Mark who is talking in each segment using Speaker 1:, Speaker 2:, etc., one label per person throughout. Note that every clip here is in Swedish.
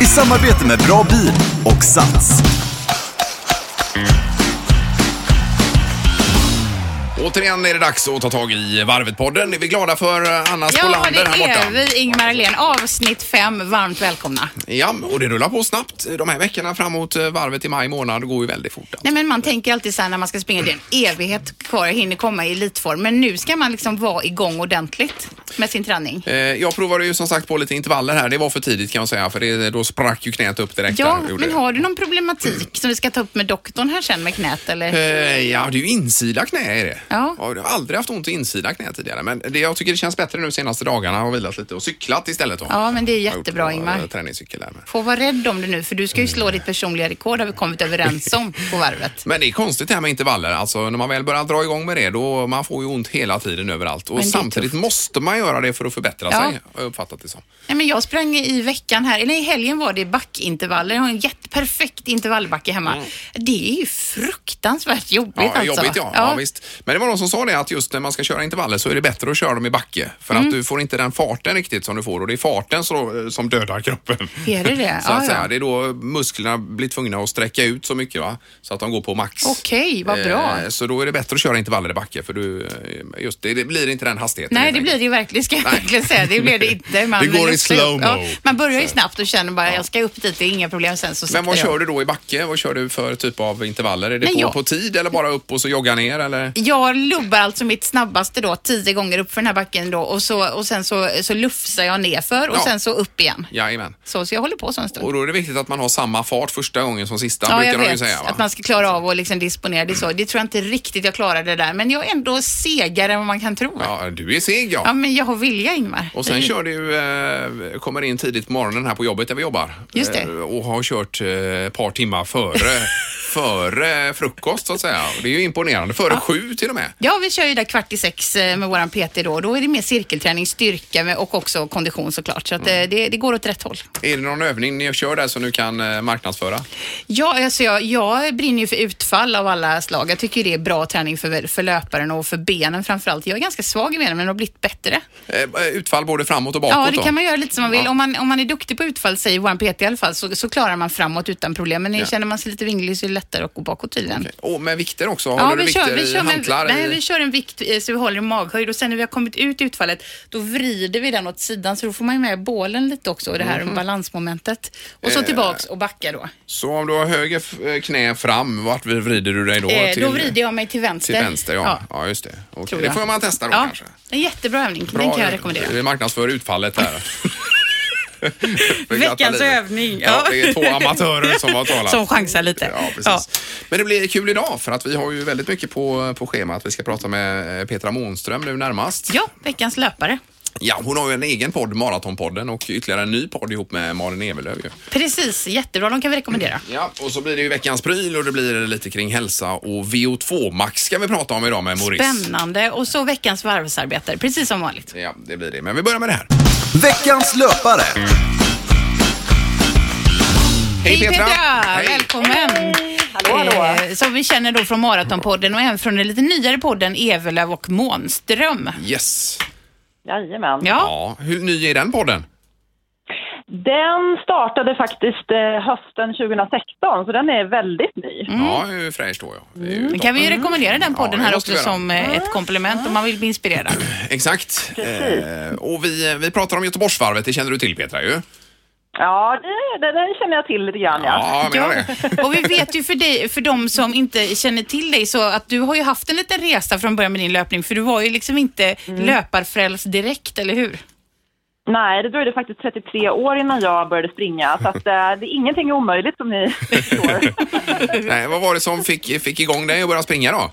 Speaker 1: i samarbete med Bra Bil och Sats.
Speaker 2: Återigen är det dags att ta tag i Varvet-podden. Är vi glada för eh, Anna
Speaker 3: Ja,
Speaker 2: Spolander här
Speaker 3: det är
Speaker 2: borta?
Speaker 3: vi, Ingmar Ahlén. Avsnitt fem, varmt välkomna.
Speaker 2: Ja, och det rullar på snabbt. De här veckorna framåt eh, varvet i maj månad går ju väldigt fort. alltså.
Speaker 3: Nej, men man tänker alltid så här när man ska springa, det är en evighet kvar, jag hinner komma i elitform. Men nu ska man liksom vara igång ordentligt med sin träning.
Speaker 2: Eh, Jag provade ju som sagt på lite intervaller här. Det var för tidigt kan jag säga för det, då sprack ju knät upp direkt.
Speaker 3: Ja,
Speaker 2: där, gjorde
Speaker 3: men
Speaker 2: det.
Speaker 3: har du någon problematik som vi ska ta upp med doktorn här sen med knät eller?
Speaker 2: Eh, Ja, det är ju insida knä är det.
Speaker 3: Ja.
Speaker 2: Jag har aldrig haft ont i insida knä tidigare men det, jag tycker det känns bättre nu senaste dagarna. Jag har vilat lite och cyklat istället. Då.
Speaker 3: Ja, men det är
Speaker 2: Har gjort
Speaker 3: jättebra,
Speaker 2: på,
Speaker 3: Ingmar.
Speaker 2: eh, Träningscykel där med.
Speaker 3: Får vara rädd om det nu, för du ska ju slå ditt personliga rekord har vi kommit överens om på varvet.
Speaker 2: Men det är konstigt det här med intervaller. Alltså när man väl börjar dra igång med det då man får ju ont hela tiden överallt. Och
Speaker 3: Men det är
Speaker 2: samtidigt måste man göra det för att förbättra
Speaker 3: Ja.
Speaker 2: sig. Har jag uppfattat det som.
Speaker 3: Nej, men jag sprang i veckan här, eller i helgen var det backintervaller. Jag har en jätteperfekt intervallbacke hemma. Det är ju fruktansvärt jobbigt
Speaker 2: Ja,
Speaker 3: alltså.
Speaker 2: Jobbigt ja. ja. visst. Men det var någon som sa det att just när man ska köra intervaller så är det bättre att köra dem i backe. För
Speaker 3: Mm.
Speaker 2: att du får inte den farten riktigt som du får och det är farten som, som dödar kroppen.
Speaker 3: Är det det?
Speaker 2: Så att
Speaker 3: Ja,
Speaker 2: säga.
Speaker 3: ja.
Speaker 2: Det är då musklerna blir tvungna att sträcka ut så mycket va? så att de går på max.
Speaker 3: Okej, vad bra.
Speaker 2: Eh, Så då är det bättre att köra intervaller i backe för du, eh, just det, det blir inte den hastigheten.
Speaker 3: Nej,
Speaker 2: helt
Speaker 3: det blir
Speaker 2: enkelt.
Speaker 3: det ju verkligen, ska jag
Speaker 2: Nej.
Speaker 3: verkligen säga. Det blev det inte. Man
Speaker 2: Det går
Speaker 3: vill
Speaker 2: i
Speaker 3: också upp.
Speaker 2: slow-mo.
Speaker 3: man börjar ju snabbt och känner bara, jag ska upp dit, det är inga problem. Sen så
Speaker 2: Men vad
Speaker 3: saktar
Speaker 2: kör
Speaker 3: jag.
Speaker 2: du då i backe? Vad kör du för typ av intervaller? Är det
Speaker 3: Nej,
Speaker 2: på,
Speaker 3: jag-
Speaker 2: på tid eller bara upp och så jogga ner eller?
Speaker 3: Jag lubbar alltså mitt snabbaste då, tio gånger upp för den här backen då och, så, och sen så, så lufsar jag nerför och
Speaker 2: Ja.
Speaker 3: sen så upp igen.
Speaker 2: Jajamän.
Speaker 3: Så, så jag håller på så en stund.
Speaker 2: Och då är det viktigt att man har samma fart första gången som sista
Speaker 3: Ja,
Speaker 2: brukar
Speaker 3: jag
Speaker 2: de ju
Speaker 3: vet.
Speaker 2: säga. Va?
Speaker 3: Att man ska klara av och liksom disponera det så. Det tror jag inte riktigt jag klarade där. Men jag är ändå segare än vad man kan tro. Ja,
Speaker 2: Ja, du är seg ja.
Speaker 3: men jag har vilja, Ingmar.
Speaker 2: Och sen kör du, eh, kommer in tidigt på morgonen här på jobbet där vi jobbar.
Speaker 3: Just det.
Speaker 2: Eh, och har kört eh, ett par timmar före, före frukost så att säga. Och det är ju imponerande. Före sju till och med.
Speaker 3: Ja, vi kör ju där kvart i sex eh, med våran PT då. Då är det mer cirkelträning, styrka med- och också kondition såklart. Så att eh, det, det går åt rätt håll.
Speaker 2: Är det någon övning ni kör där som du kan eh, marknadsföra?
Speaker 3: Ja, alltså jag, jag brinner ju för utfall av alla slag. Jag tycker ju det är bra träning för, för löparen och för benen framförallt. Jag är ganska svag i benen men har blivit bättre.
Speaker 2: Eh, utfall både framåt och bakåt
Speaker 3: Ja, det
Speaker 2: då?
Speaker 3: kan man göra lite som man vill.
Speaker 2: Ja.
Speaker 3: Om, man, om man är duktig på utfall, säger vår PT i alla fall, så, så klarar man framåt utan problem. Men
Speaker 2: Ja.
Speaker 3: känner man sig lite vinglig så är det lättare att gå bakåt tydligen.
Speaker 2: Och med vikter också?
Speaker 3: Ja,
Speaker 2: Håller du
Speaker 3: vi
Speaker 2: vikter
Speaker 3: kör, vi,
Speaker 2: i
Speaker 3: kör
Speaker 2: hantlar?
Speaker 3: med, nej,
Speaker 2: i-
Speaker 3: vi kör en vikt eh, så vi håller i maghöjd och sen när vi har kommit ut i utfallet då vrider vi den åt sidan så då får man ju med bålen lite också och det
Speaker 2: Mhm.
Speaker 3: här balansmomentet. Och
Speaker 2: Eh,
Speaker 3: så tillbaks och backa då.
Speaker 2: Så om du har höger f- knä fram, vart vrider du dig då?
Speaker 3: Eh,
Speaker 2: till,
Speaker 3: då vrider jag mig till vänster.
Speaker 2: till vänster, ja. ja. just det. Okej,
Speaker 3: tror
Speaker 2: Det
Speaker 3: jag.
Speaker 2: får man testa då
Speaker 3: ja,
Speaker 2: kanske.
Speaker 3: En jättebra övning, den kan jag rekommendera.
Speaker 2: Vi marknadsför utfallet här. För
Speaker 3: Veckans
Speaker 2: gratta livet.
Speaker 3: övning,
Speaker 2: Ja.
Speaker 3: ja.
Speaker 2: det är två amatörer som har talat.
Speaker 3: Som chansar lite.
Speaker 2: Ja, precis.
Speaker 3: Ja.
Speaker 2: Men det blir kul idag för att vi har ju väldigt mycket på, på schemat. Vi ska prata med eh, Petra Månström nu närmast.
Speaker 3: Ja, veckans löpare.
Speaker 2: Ja, hon har ju en egen podd, Maratonpodden, och ytterligare en ny podd ihop med Malin Evelöv. ju.
Speaker 3: Precis, jättebra, de kan vi rekommendera.
Speaker 2: Ja, och så blir det ju veckans pryl och det blir lite kring hälsa och VO2 Max ska vi prata om idag med Maurice.
Speaker 3: Spännande. Och så veckans varvsarbetare, precis som vanligt.
Speaker 2: Ja, det blir det. Men vi börjar med det här.
Speaker 1: Veckans löpare.
Speaker 2: Hej Petra!
Speaker 3: Välkommen! Eh, Som vi känner då från Maratonpodden och även från den lite nyare podden Evelöv och Månström.
Speaker 2: Yes!
Speaker 4: Jajamän.
Speaker 3: Ja,
Speaker 2: Ja, hur ny är den podden?
Speaker 3: Mm.
Speaker 4: Den startade faktiskt eh, hösten 2016, så den är väldigt ny.
Speaker 2: Ja, hur fräsch då jag. Det är ju
Speaker 3: då
Speaker 2: toppen.
Speaker 3: kan vi ju rekommendera den
Speaker 2: Mm. Ja,
Speaker 3: podden
Speaker 2: det
Speaker 3: här
Speaker 2: måste
Speaker 3: också
Speaker 2: vi göra.
Speaker 3: som eh, ett komplement om man vill bli inspirerad.
Speaker 2: Exakt. Eh, och vi, vi pratar om Göteborgsvarvet, det känner du till Petra ju.
Speaker 4: Ja, det, det, det känner jag till lite grann. Ja.
Speaker 2: Ja, jag menar det.
Speaker 3: Och vi vet ju för dig, för de som inte känner till dig, så att du har ju haft en liten resa från början med din löpning, för du var ju liksom inte löparfrälst direkt, eller hur?
Speaker 4: Nej, det dröjde faktiskt 33 år innan jag började springa, så att, eh, det är ingenting är omöjligt som ni förstår.
Speaker 2: Nej, vad var det som fick, fick igång dig att börja springa då?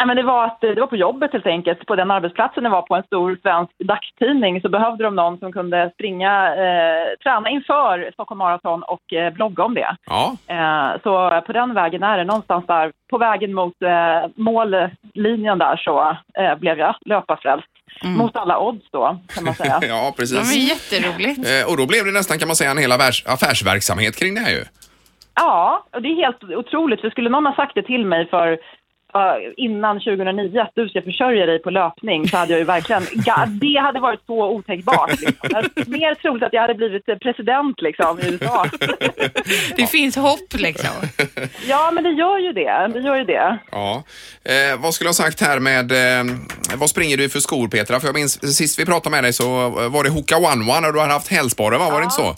Speaker 4: Nej, men det, var att, eh, det var på jobbet helt enkelt, på den arbetsplatsen jag var på, en stor svensk dagstidning, så behövde de någon som kunde springa, eh, träna inför Stockholm Marathon och eh, blogga om det.
Speaker 2: Ja,
Speaker 4: Eh, så på den vägen är det, någonstans där, på vägen mot eh, mållinjen där så eh, blev jag löparfrälst. Mot alla odds då, kan man säga.
Speaker 2: ja
Speaker 3: Ja, men
Speaker 2: precis.
Speaker 3: jätteroligt.
Speaker 2: Eh, Och då blev det nästan kan man säga en hel affärs- affärsverksamhet kring det här ju.
Speaker 4: Ja, och det är helt otroligt. För skulle någon ha sagt det till mig för ja, innan 2009 att du ska försörja dig på löpning så hade jag ju verkligen, ga- det hade varit så otänkbart. Liksom. Det är Mer troligt att jag hade blivit eh, president liksom, i USA.
Speaker 3: Det finns hopp liksom.
Speaker 4: Ja, men det gör ju det. Det gör ju det.
Speaker 2: Ja. Eh, vad skulle jag ha sagt här med, eh, vad springer du för skor Petra? För jag minns sist vi pratade med dig så var det Hoka One One och du hade haft hälsborre va? Var det inte så?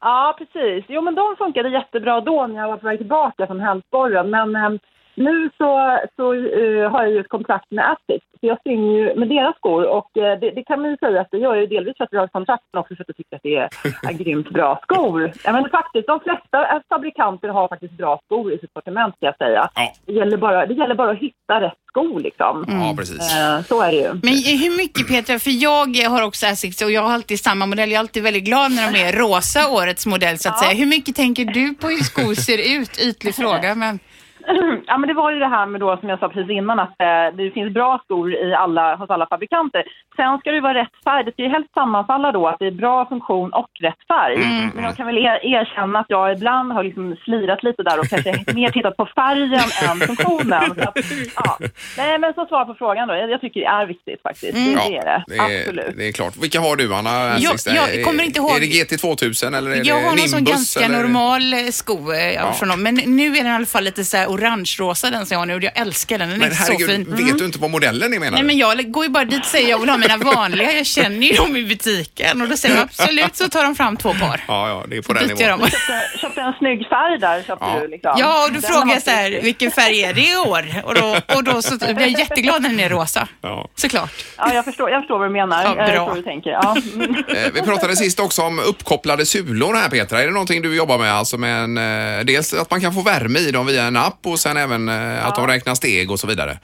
Speaker 4: Ja, precis. Jo, men de funkade jättebra då när jag var på väg tillbaka från Hälsborgen. Men eh, nu så, så eh, har jag ju ett kontrakt med Asics, så jag springer ju med deras skor. Och eh, det, det kan man ju säga att det gör jag ju delvis för att vi har ett kontrakt, men också för att jag tycker att det är, är grymt bra skor. Ja, men faktiskt, de flesta eh, fabrikanter har faktiskt bra skor i sitt sortiment, ska jag säga.
Speaker 2: Ja. Mm.
Speaker 4: Det, gäller bara, det gäller bara att hitta rätt sko, liksom.
Speaker 3: Mm.
Speaker 2: Ja, precis.
Speaker 4: Eh, Så är det ju.
Speaker 3: Men hur mycket Petra, för jag har också Asics och jag har alltid samma modell. Jag är alltid väldigt glad när de är rosa, årets modell så att säga. Hur mycket tänker du på hur skor ser ut? Ytlig fråga, men
Speaker 4: Ja, men det var ju det här med då, som jag sa precis innan, att eh, det finns bra skor i alla, hos alla fabrikanter. Sen ska det ju vara rätt färg. Det ska ju helst sammanfalla då att det är bra funktion och rätt färg. Men jag kan väl er, erkänna att jag ibland har liksom slirat lite där och kanske mer tittat på färgen än funktionen. Så att, ja. Nej, men som svar på frågan då, jag, jag tycker det är viktigt faktiskt. Det, det är det, absolut.
Speaker 2: det är klart. Vilka har du Anna?
Speaker 3: Jag-
Speaker 2: Sista-
Speaker 3: jag kommer inte ihåg.
Speaker 2: Är det GT2000 eller är det
Speaker 3: jag har någon
Speaker 2: Nimbus?
Speaker 3: sån ganska
Speaker 2: eller?
Speaker 3: normal eh, sko. eh,
Speaker 2: Ja.
Speaker 3: Ja. Från dem. Men nu är den i alla fall lite så här orange-rosa den som jag har nu och jag älskar den. Den
Speaker 2: Men
Speaker 3: är
Speaker 2: herregud,
Speaker 3: så fin. Mm.
Speaker 2: vet du inte vad modellen är menar
Speaker 3: Nej
Speaker 2: du?
Speaker 3: men jag går ju bara dit och säger jag vill ha mina vanliga, jag känner ju dem i butiken och då säger de absolut så tar de fram två par.
Speaker 2: Ja, ja, det är på den
Speaker 3: Byter
Speaker 2: nivån.
Speaker 3: de.
Speaker 4: Köpte, köpte en snygg färg där, köpte
Speaker 2: Ja.
Speaker 4: du liksom.
Speaker 3: Ja, och då
Speaker 4: Den
Speaker 3: frågar
Speaker 4: har-
Speaker 3: jag så här, vilken färg är det i år? Och då, och då så blir jag jätteglad när den är rosa.
Speaker 2: Ja.
Speaker 3: Såklart.
Speaker 4: Ja, jag förstår, jag förstår vad du menar.
Speaker 3: Ja,
Speaker 4: Jag
Speaker 3: bra.
Speaker 4: förstår hur du tänker. Ja. Mm.
Speaker 2: Eh, Vi pratade sist också om uppkopplade sulor här Petra. Är det någonting du jobbar med? Alltså med en, eh, dels att man kan få värme i dem via en app och sen även eh, att de räknar steg och så vidare.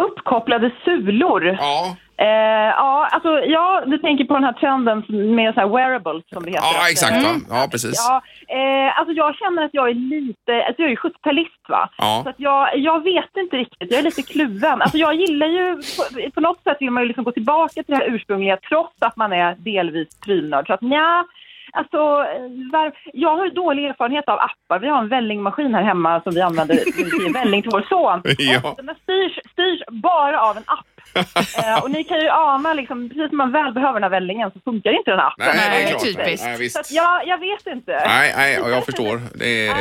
Speaker 4: Uppkopplade sulor.
Speaker 2: Ja,
Speaker 4: Eh, ja, alltså, ja, du tänker på den här trenden med så här wearables som det heter.
Speaker 2: ja
Speaker 4: Att,
Speaker 2: exakt
Speaker 4: eh,
Speaker 2: va? Ja, precis.
Speaker 4: Ja, eh, alltså jag känner att jag är lite, alltså jag är ju 70-talist va.
Speaker 2: Ja.
Speaker 4: Så att jag, jag vet inte riktigt, jag är lite kluven. Alltså jag gillar ju, på, på något sätt vill man ju liksom gå tillbaka till det här ursprungliga trots att man är delvis prylnörd. Så att nja, alltså eh, var, jag har ju dålig erfarenhet av appar. Vi har en vällingmaskin här hemma som vi använder till välling till vår son.
Speaker 2: Ja.
Speaker 4: Och den här styrs, styrs bara av en app. Eh, och ni kan ju ana, liksom, precis när man väl behöver den här vällingen så funkar inte den här appen.
Speaker 2: Nej, det
Speaker 3: Nej,
Speaker 2: är klart.
Speaker 3: typiskt.
Speaker 2: Nej,
Speaker 4: Så att
Speaker 2: visst.
Speaker 4: jag, jag vet inte.
Speaker 2: Nej, nej, och jag förstår. Det är,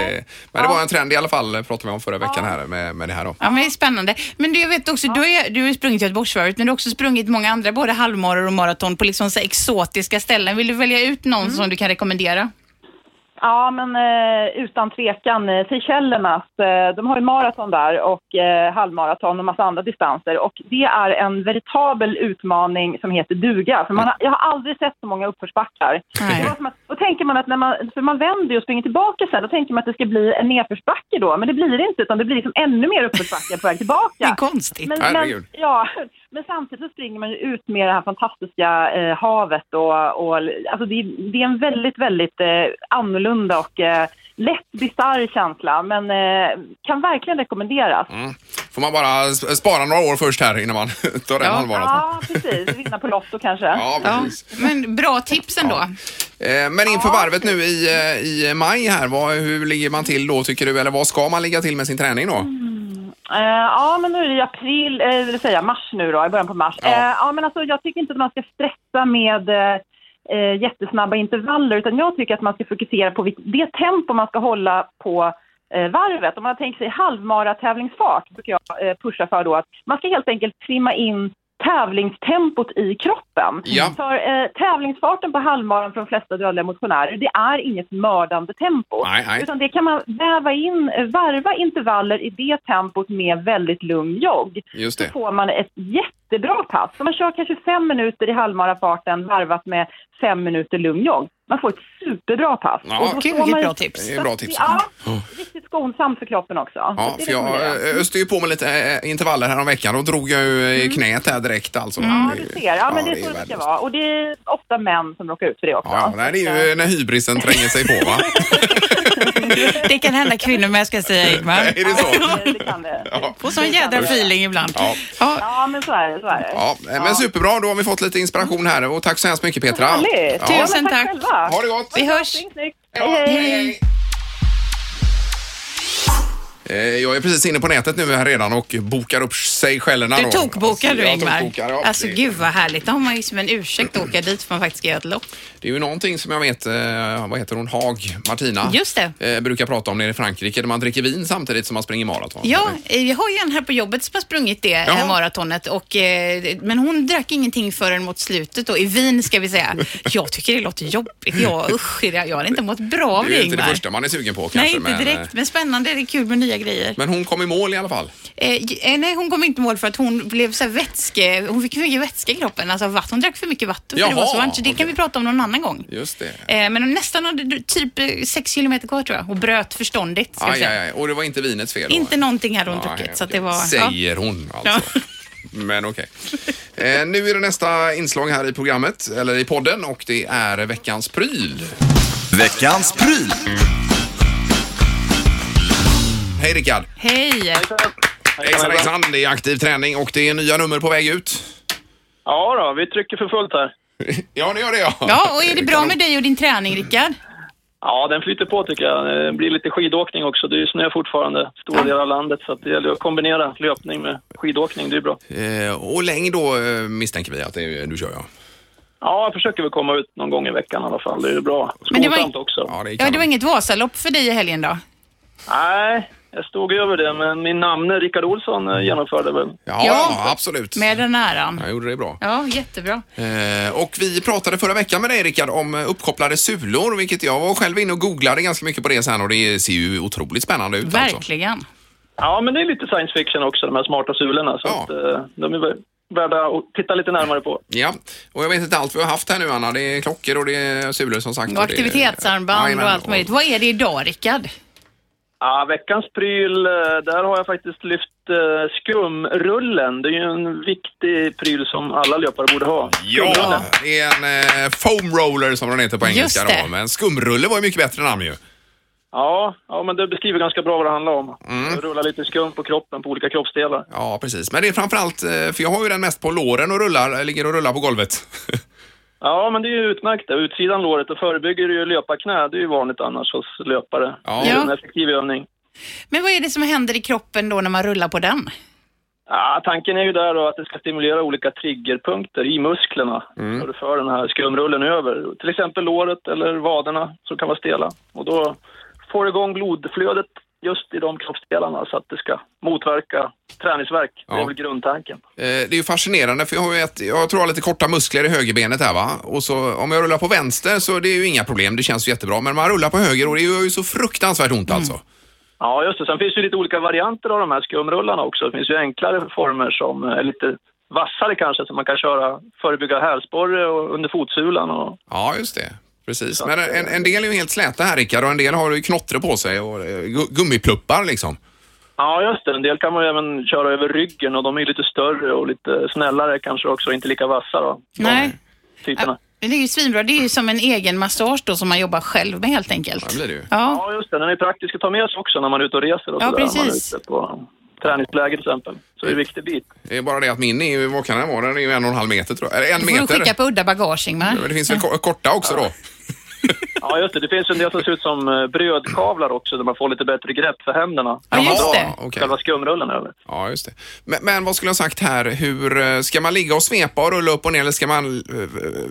Speaker 2: men det var en trend i alla fall, pratade vi om förra veckan här med, med det här då.
Speaker 3: Ja, men det är spännande. Men du, jag vet också, du har ju du har ju sprungit Göteborgsvarvet, men du har också sprungit många andra, både halvmaror och maraton, på liksom så här exotiska ställen. Vill du välja ut någon
Speaker 4: Mm.
Speaker 3: som du kan rekommendera?
Speaker 4: Ja, men eh, utan tvekan. eh, Seychellernas, eh, de har ju maraton där och eh, halvmaraton och massa andra distanser. Och det är en veritabel utmaning som heter duga. För man har, jag har aldrig sett så många uppförsbackar.
Speaker 3: Nej.
Speaker 4: Det var som att- Då tänker man att när man, för man vänder ju och springer tillbaka sen, då tänker man att det ska bli en nedförsbacke då. Men det blir det inte, utan det blir liksom ännu mer uppförsbacke på väg
Speaker 3: Det är
Speaker 4: tillbaka.
Speaker 3: konstigt.
Speaker 4: Men,
Speaker 2: Herregud.
Speaker 4: men, ja, men samtidigt så springer man ju ut med det här fantastiska eh, havet och, och alltså det, är- det är en väldigt, väldigt eh, annorlunda och eh, lätt bisarr känsla men eh, kan verkligen rekommenderas.
Speaker 2: Mm. Får man bara s- spara några år först här innan man tar den
Speaker 3: Ja.
Speaker 2: halvmaraton.
Speaker 4: Ja, precis. Vinna på Lotto kanske.
Speaker 2: Ja,
Speaker 3: Ja,
Speaker 2: precis.
Speaker 3: men bra tips ändå.
Speaker 2: Eh, Men inför varvet nu i, eh, i maj här, vad, hur ligger man till då tycker du? Eller vad ska man ligga till med sin träning då?
Speaker 4: Mm. Eh, ja, men nu är det i april, eh, det vill säga mars nu då, i början på mars.
Speaker 2: Ja.
Speaker 4: Ja, eh, ja men alltså jag tycker inte att man ska stressa med eh, eh, jättesnabba intervaller utan jag tycker att man ska fokusera på vilk- det tempo man ska hålla på eh, varvet. Om man tänker sig halvmaratävlingsfart brukar jag eh, pusha för då att man ska helt enkelt trimma in tävlingstempot i kroppen.
Speaker 2: Ja.
Speaker 4: För eh, tävlingsfarten på halvmaran för de flesta dödliga motionärer, det är inget mördande tempo.
Speaker 2: Nej, nej.
Speaker 4: Utan det kan man väva in, eh, varva intervaller i det tempot med väldigt lugn jogg.
Speaker 2: Just
Speaker 4: Så
Speaker 2: det.
Speaker 4: får man ett jättebra pass. Så man kör kanske fem minuter i halvmarafarten varvat med fem minuter lugn jogg. Man får ett superbra pass.
Speaker 2: Ja,
Speaker 4: Och då
Speaker 3: gud,
Speaker 4: står man
Speaker 3: vilket
Speaker 4: ju-
Speaker 3: bra tips.
Speaker 2: Det är bra tips.
Speaker 4: Ja, riktigt skonsamt för kroppen också.
Speaker 2: Ja,
Speaker 4: Det
Speaker 2: för jag
Speaker 4: rekommenderar
Speaker 2: eh, öste ju på med lite eh, intervaller häromveckan och drog jag ju i knät här direkt alltså.
Speaker 4: Mm. Ja, du ser. Ja, men det är så det ska
Speaker 2: värdelöst.
Speaker 4: vara. Och det är ofta män som råkar ut för det också.
Speaker 2: Ja, nej, det är ju när hybrisen tränger sig på va?
Speaker 3: Det kan hända kvinnor med, ska jag säga Ingmar.
Speaker 2: är det så?
Speaker 4: Ja, det- det kan det.
Speaker 2: Ja.
Speaker 3: Får sån jädra feeling ibland.
Speaker 2: Ja.
Speaker 3: Ja.
Speaker 4: Ja, men så är det. Så är det.
Speaker 2: Ja, eh, men superbra, då har vi fått lite inspiration här och tack så hemskt mycket Petra.
Speaker 4: Härligt.
Speaker 2: Ja.
Speaker 4: Ja, men
Speaker 3: Tusen tack.
Speaker 4: själva.
Speaker 2: Ha det gott!
Speaker 3: Vi hörs.
Speaker 4: Snyggt, snyggt.
Speaker 2: Ja,
Speaker 4: Hej, hej.
Speaker 2: Eh, Jag är precis inne på nätet nu här redan och bokar upp sig själv.
Speaker 3: Du tokbokar du
Speaker 2: Jag
Speaker 3: Ingmar.
Speaker 2: tokbokar, ja.
Speaker 3: Alltså
Speaker 2: Det-
Speaker 3: gud vad härligt. Då har man ju som en ursäkt att åka dit för man faktiskt ska göra ett lopp.
Speaker 2: Det är ju någonting som jag vet, eh, vad heter hon, Haag, Martina,
Speaker 3: Just det.
Speaker 2: Eh, brukar prata om nere i Frankrike där man dricker vin samtidigt som man springer maraton.
Speaker 3: Ja, eh, vi har ju en här på jobbet som har sprungit det
Speaker 2: Jaha.
Speaker 3: eh, maratonet. Och, eh, men hon drack ingenting förrän mot slutet då, i Wien ska vi säga. Jag tycker det låter jobbigt. Jag, usch, det- jag har inte mått bra av
Speaker 2: Det är ju
Speaker 3: det
Speaker 2: inte det
Speaker 3: Ingmar.
Speaker 2: första man är sugen på kanske.
Speaker 3: Nej, inte
Speaker 2: men, eh,
Speaker 3: direkt. Men spännande. Det är kul med nya grejer.
Speaker 2: Men hon kom i mål i alla fall.
Speaker 3: Eh, j- eh, nej, hon kom inte i mål för att hon blev så här vätske... Hon fick för mycket vätska i kroppen. Alltså vatten. Hon drack för mycket vatten. för det,
Speaker 2: Jaha,
Speaker 3: var så varmt, så det
Speaker 2: okej.
Speaker 3: kan vi prata om någon annan gång.
Speaker 2: Just det.
Speaker 3: Eh, men hon nästan hade du- typ eh, sex kilometer kvar tror jag. Och bröt förståndigt. Ska vi
Speaker 2: Aj,
Speaker 3: säga.
Speaker 2: aj, aj. Och det var inte vinets fel? då?
Speaker 3: Inte någonting hade hon
Speaker 2: Nej,
Speaker 3: druckit. Så att
Speaker 2: okej.
Speaker 3: det var... ja.
Speaker 2: Säger hon alltså. Men okej. Eh, nu är det nästa inslag här i programmet, eller i podden, och det är veckans pryl.
Speaker 1: Veckans pryl.
Speaker 2: Hej Rickard!
Speaker 3: Hej!
Speaker 2: Hejsan hejsan! Det är aktiv träning och det är nya nummer på väg ut.
Speaker 5: Ja då, vi trycker för fullt här.
Speaker 2: Ja, det gör det ja.
Speaker 3: Ja, och är det bra
Speaker 2: Kanon.
Speaker 3: med dig och din träning, Rickard?
Speaker 5: Ja, den flyter på tycker jag. Det blir lite skidåkning också. Det är ju snö fortfarande stora delar av landet så att det gäller att kombinera löpning med skidåkning. Det är bra.
Speaker 2: Eh, och längd då eh, misstänker vi att det är, du kör ja.
Speaker 5: Ja, jag försöker väl komma ut någon gång i veckan i alla fall. Det är ju bra.
Speaker 3: Men det var-
Speaker 5: Skonsamt också.
Speaker 2: Ja, det är
Speaker 3: Ja, det var
Speaker 2: kanon.
Speaker 3: inget Vasalopp för dig i helgen då?
Speaker 5: Nej, jag stod över det, men min namne Rickard Olsson eh, genomförde väl.
Speaker 2: Ja,
Speaker 3: Ja.
Speaker 2: ja, absolut.
Speaker 3: Med den äran.
Speaker 2: Jag gjorde det bra.
Speaker 3: Ja, jättebra.
Speaker 2: Eh, och vi pratade förra veckan med dig Rickard om eh, uppkopplade sulor, vilket jag var själv inne och googlade ganska mycket på det sen och det ser ju otroligt spännande ut alltså.
Speaker 3: Verkligen.
Speaker 5: Ja, men det är lite science fiction också, de här smarta sulorna. Så
Speaker 2: Ja.
Speaker 5: att, eh, de är väl värda att titta lite närmare på.
Speaker 2: Ja, och jag vet inte allt vi har haft här nu Anna. Det är klockor och det är sulor som sagt.
Speaker 3: Och
Speaker 2: det är-
Speaker 3: aktivitetsarmband
Speaker 2: Jajamän,
Speaker 3: och allt möjligt. Vad är det idag, Rickard?
Speaker 5: Ja, veckans pryl, eh, där har jag faktiskt lyft eh, skumrullen. Det är ju en viktig pryl som alla löpare borde ha.
Speaker 2: Ja, det är en eh, foam roller som den heter på
Speaker 3: Just
Speaker 2: engelska då.
Speaker 3: det.
Speaker 2: Men skumrulle var ju mycket bättre namn ju.
Speaker 5: Ja, ja, men det beskriver ganska bra vad det handlar om.
Speaker 2: Mm.
Speaker 5: Rulla lite skum på kroppen, på olika kroppsdelar.
Speaker 2: Ja, precis. Men det är framförallt, eh, för jag har ju den mest på låren och rullar, ligger och rullar på golvet.
Speaker 5: Ja, men det är ju utmärkt. det. Utsidan låret, och förebygger det ju löparknä. Det är ju vanligt annars hos löpare.
Speaker 2: Ja.
Speaker 5: Det är ju en effektiv övning.
Speaker 3: Men vad är det som händer i kroppen då när man rullar på den?
Speaker 5: Ja, tanken är ju där då att det ska stimulera olika triggerpunkter i musklerna när du för den här skumrullen över. Till exempel låret eller vaderna som kan vara stela. Och då får du igång blodflödet just i de kroppsdelarna så att det ska motverka träningsvärk. Det
Speaker 2: Ja.
Speaker 5: är väl grundtanken.
Speaker 2: Eh, Det är ju fascinerande för jag har ju ett, jag tror jag har lite korta muskler i högerbenet här va. Och så om jag rullar på vänster så det är ju inga problem, det känns ju jättebra. Men man rullar på höger och det gör ju så fruktansvärt ont alltså.
Speaker 3: Mm.
Speaker 5: Ja, just det. Sen finns det ju lite olika varianter av de här skumrullarna också. Det finns ju enklare former som är lite vassare kanske, som man kan köra, förebygga hälsporre och under fotsulan och
Speaker 2: Ja, just det. Precis. Men
Speaker 3: eh,
Speaker 2: en, en del är ju helt släta här Rickard och en del har ju knottre på sig och eh, gu- gummipluppar liksom.
Speaker 5: Ja, just det. En del kan man ju även köra över ryggen och de är ju lite större och lite snällare kanske också, inte lika vassa då,
Speaker 3: Nej.
Speaker 5: typerna.
Speaker 3: Men Det är ju svinbra. Det är ju som en egen massage då som man jobbar själv med helt enkelt.
Speaker 2: Ja, det blir det ju.
Speaker 3: Ja,
Speaker 5: Ja, just det. Den är ju praktisk att ta med sig också när man är ute och reser och
Speaker 3: Ja,
Speaker 5: sådär. Om Man
Speaker 3: precis.
Speaker 5: är ute på träningsläger till exempel. Så det är en viktig bit.
Speaker 2: Det är bara det att min är ju, vad kan den vara, den är ju en och en halv meter tror jag. Eller en
Speaker 3: får du
Speaker 2: meter.
Speaker 3: skicka på udda bagage Ingmar.
Speaker 2: Men det finns väl ko- korta också då?
Speaker 5: Ja, just det. Det finns ju en del som ser ut som eh, brödkavlar också, där man får lite bättre grepp för händerna.
Speaker 3: Ja, just det.
Speaker 2: Ja, okej.
Speaker 5: Själva skumrullen över.
Speaker 2: Ja, just det. Men, men vad skulle jag ha sagt här? Hur eh, ska man ligga och svepa och rulla upp och ner eller ska man eh, eh,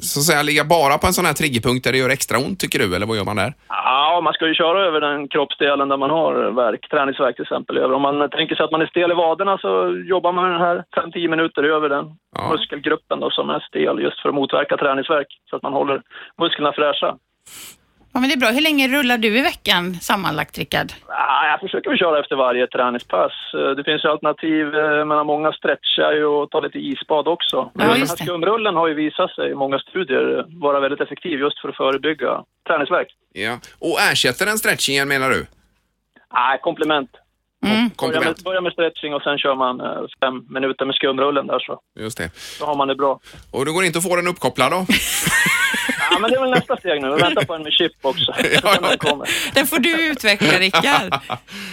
Speaker 2: så att säga ligga bara på en sån här triggerpunkt där det gör extra ont tycker du? Eller vad gör man där?
Speaker 5: Ja, man ska ju köra över den kroppsdelen där man har värk, träningsvärk till exempel. Över. Om man tänker sig att man är stel i vaderna så jobbar man den här 5-10 minuter över den
Speaker 2: Ja.
Speaker 5: muskelgruppen då, som är stel just för att motverka träningsvärk så att man håller musklerna fräscha.
Speaker 3: Ja, men det är bra. Hur länge rullar du i veckan sammanlagt, Rickard?
Speaker 5: Ah, jag försöker väl köra efter varje träningspass. Eh, Det finns ju alternativ, eh, men många stretchar ju och tar lite isbad också.
Speaker 3: Ja,
Speaker 5: den här
Speaker 3: just det.
Speaker 5: skumrullen har ju visat sig i många studier eh, vara väldigt effektiv just för att förebygga träningsvärk.
Speaker 2: Ja. Och ersätter den stretchingen menar du?
Speaker 5: Nej, komplement.
Speaker 3: Mm.
Speaker 5: Börja med,
Speaker 2: Komplement.
Speaker 5: börja med stretching och sen kör man eh, fem minuter med skumrullen där så,
Speaker 2: Just det.
Speaker 5: så har man det bra.
Speaker 2: Och du går inte att få den uppkopplad då?
Speaker 5: Ja, men det är väl nästa steg nu. Vänta på en med chip också.
Speaker 2: Ja, ja.
Speaker 5: Den kommer.
Speaker 3: Den får du utveckla, Rickard.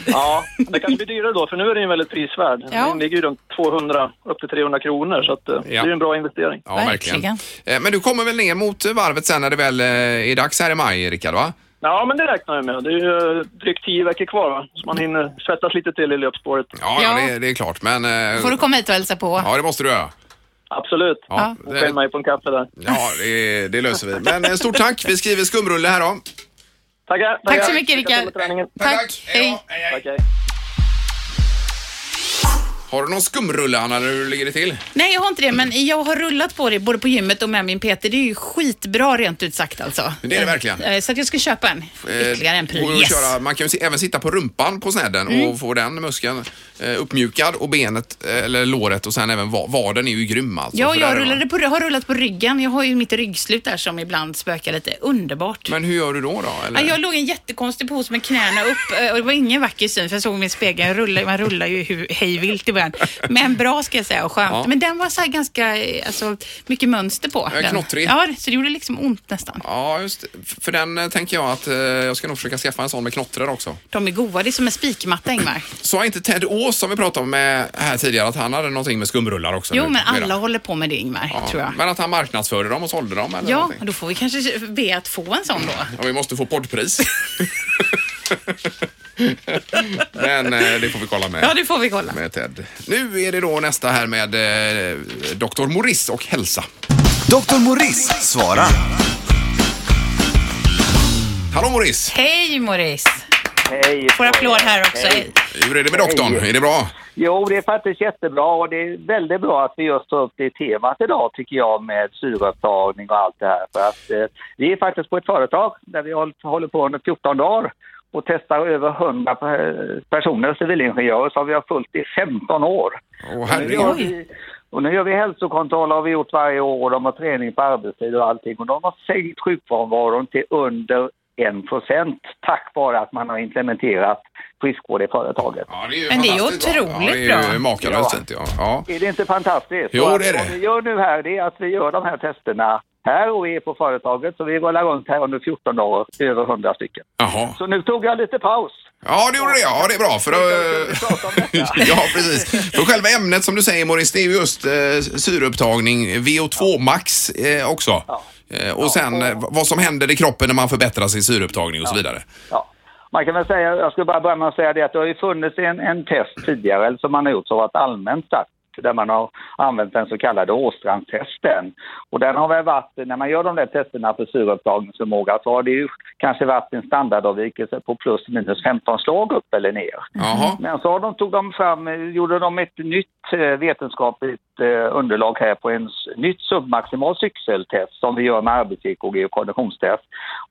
Speaker 5: Ja, det kanske blir dyrare då, för nu är den ju väldigt prisvärd.
Speaker 3: Ja.
Speaker 5: Den ligger ju runt 200 upp till 300 kronor, så att, eh, det är ju en bra investering.
Speaker 2: Ja,
Speaker 3: Verkligen.
Speaker 2: Eh, Men du kommer väl ner mot varvet sen när det väl eh, är dags här i maj, Rickard? Va?
Speaker 5: Ja, men det räknar jag med. Det är ju eh, drygt 10 veckor kvar, va? så man hinner svettas lite till i löpspåret.
Speaker 2: Ja, ja.
Speaker 3: Ja.
Speaker 2: Det, det är klart. Men... eh,
Speaker 3: får du komma hit och hälsa på.
Speaker 2: Ja, det måste du göra.
Speaker 5: Absolut.
Speaker 2: Ja.
Speaker 5: Och skäll mig på en kaffe där.
Speaker 2: Ja, det, det löser vi. Men eh, stort tack. Vi skriver skumrulle här då.
Speaker 5: Tackar!
Speaker 3: Tack
Speaker 5: tackar.
Speaker 3: så mycket,
Speaker 5: Lycka till med
Speaker 3: Rickard.
Speaker 5: träningen.
Speaker 3: Tack. Hej.
Speaker 2: då. hej.
Speaker 5: Tack, hej.
Speaker 2: Har du någon skumrulle, Anna, eller hur ligger det till? Eh,
Speaker 3: Nej, jag har inte det, men jag har rullat på det både på gymmet och med min Peter. Det är ju skitbra rent ut sagt alltså.
Speaker 2: Det är det verkligen.
Speaker 3: Eh, Så att jag ska köpa en.
Speaker 2: Eh,
Speaker 3: Ytterligare en
Speaker 2: och
Speaker 3: pryl. Yes. Mm.
Speaker 2: köra, man kan ju si- även sitta på rumpan på snedden och få den muskeln eh, uppmjukad och benet eh, eller låret och sen även va- vaden är ju grym alltså.
Speaker 3: Ja,
Speaker 2: För där
Speaker 3: jag
Speaker 2: är
Speaker 3: rullade
Speaker 2: man-
Speaker 3: på, har rullat på ryggen. Jag har ju mitt ryggslut där som ibland spökar lite. Underbart.
Speaker 2: Men hur gör du då? då eller?
Speaker 3: Ja, jag låg i en jättekonstig pose med knäna upp eh, och det var ingen vacker syn för jag såg min spegel. Jag rullade, man rullar ju hu- hejvilt i början. Men bra ska jag säga och skönt.
Speaker 2: Ja.
Speaker 3: Men den var så här ganska eh, alltså, mycket mönster på.
Speaker 2: Ja,
Speaker 3: den.
Speaker 2: knottrig.
Speaker 3: Ja, så det gjorde liksom ont nästan.
Speaker 2: Ja, just det. F- För den eh, tänker jag att eh, jag ska nog försöka skaffa en sån med knottrar också.
Speaker 3: De är goa. Det är som en spikmatta, Ingmar.
Speaker 2: Sa inte Ted Ås som vi pratade om eh, här tidigare att han hade någonting med skumrullar också?
Speaker 3: Jo,
Speaker 2: nu
Speaker 3: men
Speaker 2: på middagen?
Speaker 3: alla håller på med det, Ingmar,
Speaker 2: Ja,
Speaker 3: tror jag.
Speaker 2: Men att han marknadsförde dem och sålde dem eller
Speaker 3: Ja,
Speaker 2: någonting.
Speaker 3: då får vi kanske be att få en sån då.
Speaker 2: Ja, vi måste få poddpris. men eh, det får vi kolla med.
Speaker 3: Ja, det får vi kolla.
Speaker 2: med Ted. Nu är det då nästa här med eh, Dr. Morris och hälsa.
Speaker 1: Dr. Morris svarar.
Speaker 2: Hallå Morris!
Speaker 3: Hej, Morris!
Speaker 6: Hej!
Speaker 3: Får applåd här också.
Speaker 2: Hur är det med doktorn? Är det bra?
Speaker 6: Jo, det är faktiskt jättebra och det är väldigt bra att vi just tar upp det temat idag tycker jag med syreupptagning och allt det här. För att, eh, vi är faktiskt på ett företag där vi håll- håller på under 14 dagar och testar över 100 pe- personer, civilingenjörer, som vi har följt i 15 år.
Speaker 2: Åh,
Speaker 6: Och nu, gör
Speaker 2: herregud.
Speaker 6: vi, och nu gör vi hälsokontroll har vi gjort varje år och de har träning på arbetstid och allting. Och de har sänkt sjukfrånvaron till under 1 procent tack vare att man har implementerat friskvård i företaget.
Speaker 2: Ja, det är ju
Speaker 3: Men det är ju
Speaker 2: fantastiskt
Speaker 3: otroligt
Speaker 2: bra. Ja, det är ju
Speaker 3: bra.
Speaker 2: makalöst
Speaker 6: Ja.
Speaker 2: fint. Ja. Ja.
Speaker 6: Är det inte fantastiskt?
Speaker 2: Jo,
Speaker 6: Och att
Speaker 2: det är det.
Speaker 6: Vad vi gör nu här det är att vi gör de här testerna här och är på företaget. Så vi rullar runt här under 14 dagar, över 100 stycken.
Speaker 2: Jaha.
Speaker 6: Så nu tog jag lite paus.
Speaker 2: Ja, det gjorde det. Ja, det är bra. För,
Speaker 6: Jag tänkte att vi skulle prata om
Speaker 2: eh, ja, precis. för själva ämnet som du säger Morris, det är ju just eh, syreupptagning, VO2 max eh, också. Eh, och sen eh, vad som händer i kroppen när man förbättrar sin syreupptagning och så vidare.
Speaker 6: Ja. Man kan väl säga, jag skulle bara börja med att säga det att det har ju funnits en, en test tidigare eller som man har gjort som varit allmänt sagt där man har använt den så kallade Åstrandstesten. Och den har väl varit, när man gör de där testerna för syreupptagningsförmåga så har det ju kanske varit en standardavvikelse på plus minus 15 slag upp eller ner.
Speaker 2: Jaha.
Speaker 6: Men så har de, tog de fram, eh, gjorde de ett nytt eh, vetenskapligt eh, underlag här på en s- nytt submaximal cykeltest som vi gör med arbets-EKG och konditionstest.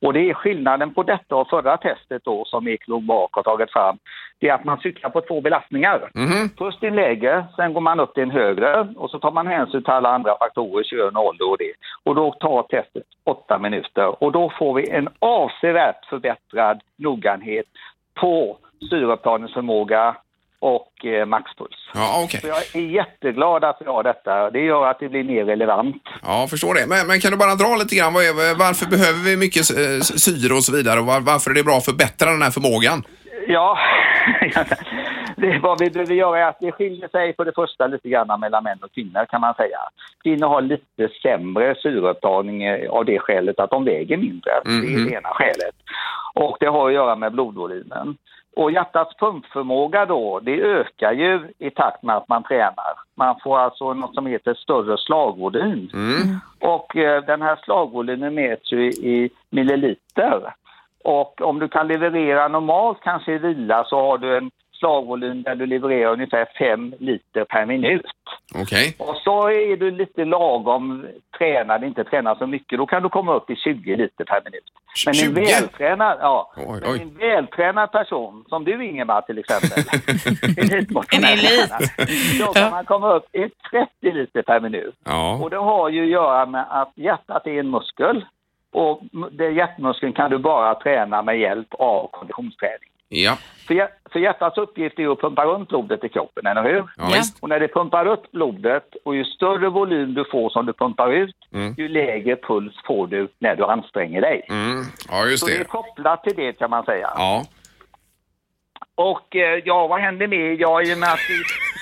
Speaker 6: Och det är skillnaden på detta och förra testet då som Eklog Bak har tagit fram. Det är att man cyklar på två belastningar. Först i en lägre, sen går man upp till en högre och så tar man hänsyn till alla andra faktorer, kön, ålder och det. Och då tar testet åtta minuter och då får vi en avsevärt förbättrad noggrannhet på syreupptagningsförmåga och eh, maxpuls.
Speaker 2: Ja, okej.
Speaker 6: Så jag är jätteglad att vi har detta. Det gör att det blir mer relevant.
Speaker 2: Ja, förstår det. Men, men kan du bara dra lite grann, vad är, varför behöver vi mycket eh, syre och så vidare och var, varför är det bra att förbättra den här förmågan?
Speaker 6: Ja, det, vad vi behöver göra är att det skiljer sig för det första lite grann mellan män och kvinnor kan man säga. Kvinnor har lite sämre syreupptagning eh, av det skälet att de väger mindre. Det är det ena skälet. Och det har att göra med blodvolymen. Och hjärtats pumpförmåga då, det ökar ju i takt med att man tränar. Man får alltså något som heter större slagvolym.
Speaker 2: Mm.
Speaker 6: Och eh, den här slagvolymen mäts ju i milliliter. Och om du kan leverera normalt kanske i vila så har du en slagvolym där du levererar ungefär 5 liter per minut.
Speaker 2: Okej.
Speaker 6: Och så är du lite lagom tränad, inte tränad så mycket, då kan du komma upp i 20 liter per minut. Men
Speaker 2: 20?
Speaker 6: en vältränad, ja,
Speaker 2: Oj,
Speaker 6: men
Speaker 2: oj.
Speaker 6: en vältränad person, som du Ingemar till exempel,
Speaker 3: En elit.
Speaker 6: då kan man komma upp i 30 liter per minut.
Speaker 2: Ja.
Speaker 6: Och det har ju att göra med att hjärtat är en muskel och m- den hjärtmuskeln kan du bara träna med hjälp av konditionsträning.
Speaker 2: Ja.
Speaker 6: För, hjär- för hjärtats uppgift är ju att pumpa runt blodet i kroppen, eller hur?
Speaker 2: Ja,
Speaker 3: Ja.
Speaker 2: visst.
Speaker 6: Och när det pumpar upp blodet och ju större volym du får som du pumpar ut, ju lägre puls får du när du anstränger dig.
Speaker 2: Mm. Ja, just
Speaker 6: Så det är
Speaker 2: det.
Speaker 6: kopplat till det kan man säga.
Speaker 2: Ja.
Speaker 6: Och eh, ja, vad händer med? Ja, i och med att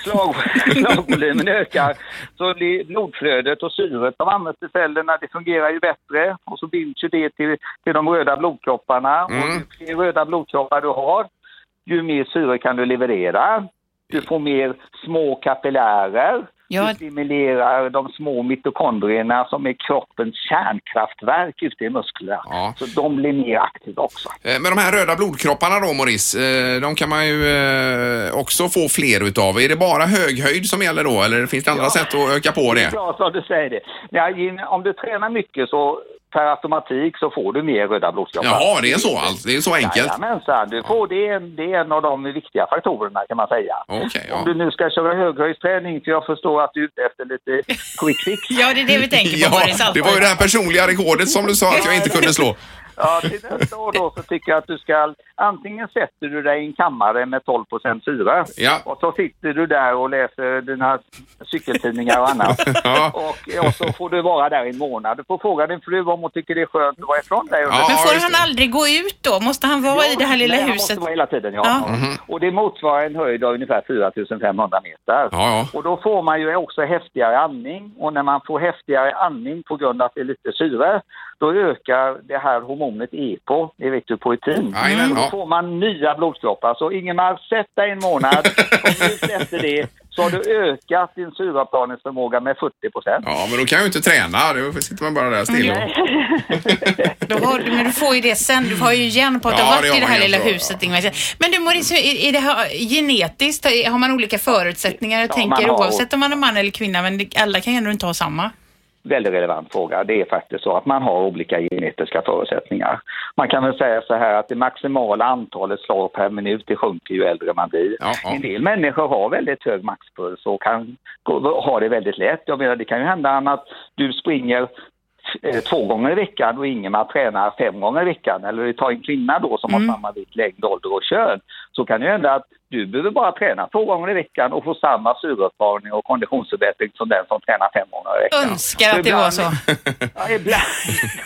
Speaker 6: slag, slagvolymen ökar så blir blodflödet och syret som används i cellerna, det fungerar ju bättre. Och så binds ju det till, till de röda blodkropparna. Och ju fler röda blodkroppar du har, ju mer syre kan du leverera. Du får mer små kapillärer.
Speaker 3: Ja.
Speaker 6: Du stimulerar de små mitokondrierna som är kroppens kärnkraftverk ute i musklerna.
Speaker 2: Ja.
Speaker 6: Så de blir mer aktiva också.
Speaker 2: Eh, Men de här röda blodkropparna då, Morris, eh, de kan man ju eh, också få fler utav. Är det bara höghöjd som gäller då, eller finns det andra sätt att öka på det?
Speaker 6: Ja, så du säger det. Ja, i- om du tränar mycket så per automatik så får du mer röda blodkroppar.
Speaker 2: Jaha, det är så alls. Det är så enkelt.
Speaker 6: Jajamensan, du får, det, är en, det är en av de viktiga faktorerna kan man säga.
Speaker 2: Okej,
Speaker 6: Om du
Speaker 2: ja.
Speaker 6: nu ska köra höghöjdsträning, för jag förstår att du är ute efter lite quick fix.
Speaker 3: Ja, det är det vi tänker på, Boris.
Speaker 2: ja.
Speaker 3: alltid.
Speaker 2: Det var ju det här personliga rekordet som du sa att jag inte kunde slå.
Speaker 6: Ja, till nästa år då så tycker jag att du ska, antingen sätter du dig i en kammare med 12 syra
Speaker 2: Ja.
Speaker 6: och så sitter du där och läser dina cykeltidningar och annat.
Speaker 2: Ja.
Speaker 6: Och, och så får du vara där i en månad. Du får fråga din fru om hon tycker det är skönt att vara ifrån dig.
Speaker 2: Ja,
Speaker 3: Men får
Speaker 2: just
Speaker 3: han
Speaker 2: det.
Speaker 3: aldrig gå ut då? Måste han vara i det här lilla
Speaker 6: Nej, han
Speaker 3: huset?
Speaker 6: måste vara hela tiden, ja.
Speaker 3: Ja.
Speaker 2: Mhm.
Speaker 6: Och det motsvarar en höjd av ungefär 4500 meter.
Speaker 2: ja.
Speaker 6: Och då får man ju också häftigare andning och när man får häftigare andning på grund av att det är lite syre, då ökar det här hormonet EPO, det vet du, poetin.
Speaker 2: Jajamän,
Speaker 6: Och Då
Speaker 2: ja.
Speaker 6: får man nya blodkroppar. Så Ingemar, sätt dig en månad och ut efter det så har du ökat din syreavplaningsförmåga med 40 procent.
Speaker 2: Ja, men då kan jag ju inte träna. Då sitter man bara där still. och-
Speaker 3: Då har, du- men du får ju det sen. Du har ju igen på att du
Speaker 2: Ja,
Speaker 3: har
Speaker 2: det
Speaker 3: varit
Speaker 2: har
Speaker 3: i det
Speaker 2: man
Speaker 3: här
Speaker 2: ju
Speaker 3: lilla
Speaker 2: så,
Speaker 3: huset, Ingvar. Men du Maurice, är, är det här genetiskt? Har man olika förutsättningar? Jag
Speaker 6: Ja,
Speaker 3: tänker
Speaker 6: man har-
Speaker 3: oavsett om man är man eller kvinna, men det- alla kan ju ändå inte ha samma.
Speaker 6: Väldigt relevant fråga. Det är faktiskt så att man har olika genetiska förutsättningar. Man kan väl säga så här att det maximala antalet slag per minut det sjunker ju äldre man blir.
Speaker 2: Ja, ja.
Speaker 6: En del människor har väldigt hög maxpuls och kan gå- ha det väldigt lätt. Jag menar, det kan ju hända att du springer eh, två gånger i veckan och Ingemar tränar fem gånger i veckan. Eller vi tar en kvinna då som
Speaker 3: Mm.
Speaker 6: har samma vikt, längd, ålder och kön. Så kan det ju hända att du behöver bara träna två gånger i veckan och få samma syreupptagning och konditionsförbättring som den som tränar fem gånger i veckan.
Speaker 3: Önskar att det var så.
Speaker 6: Ja, ibland,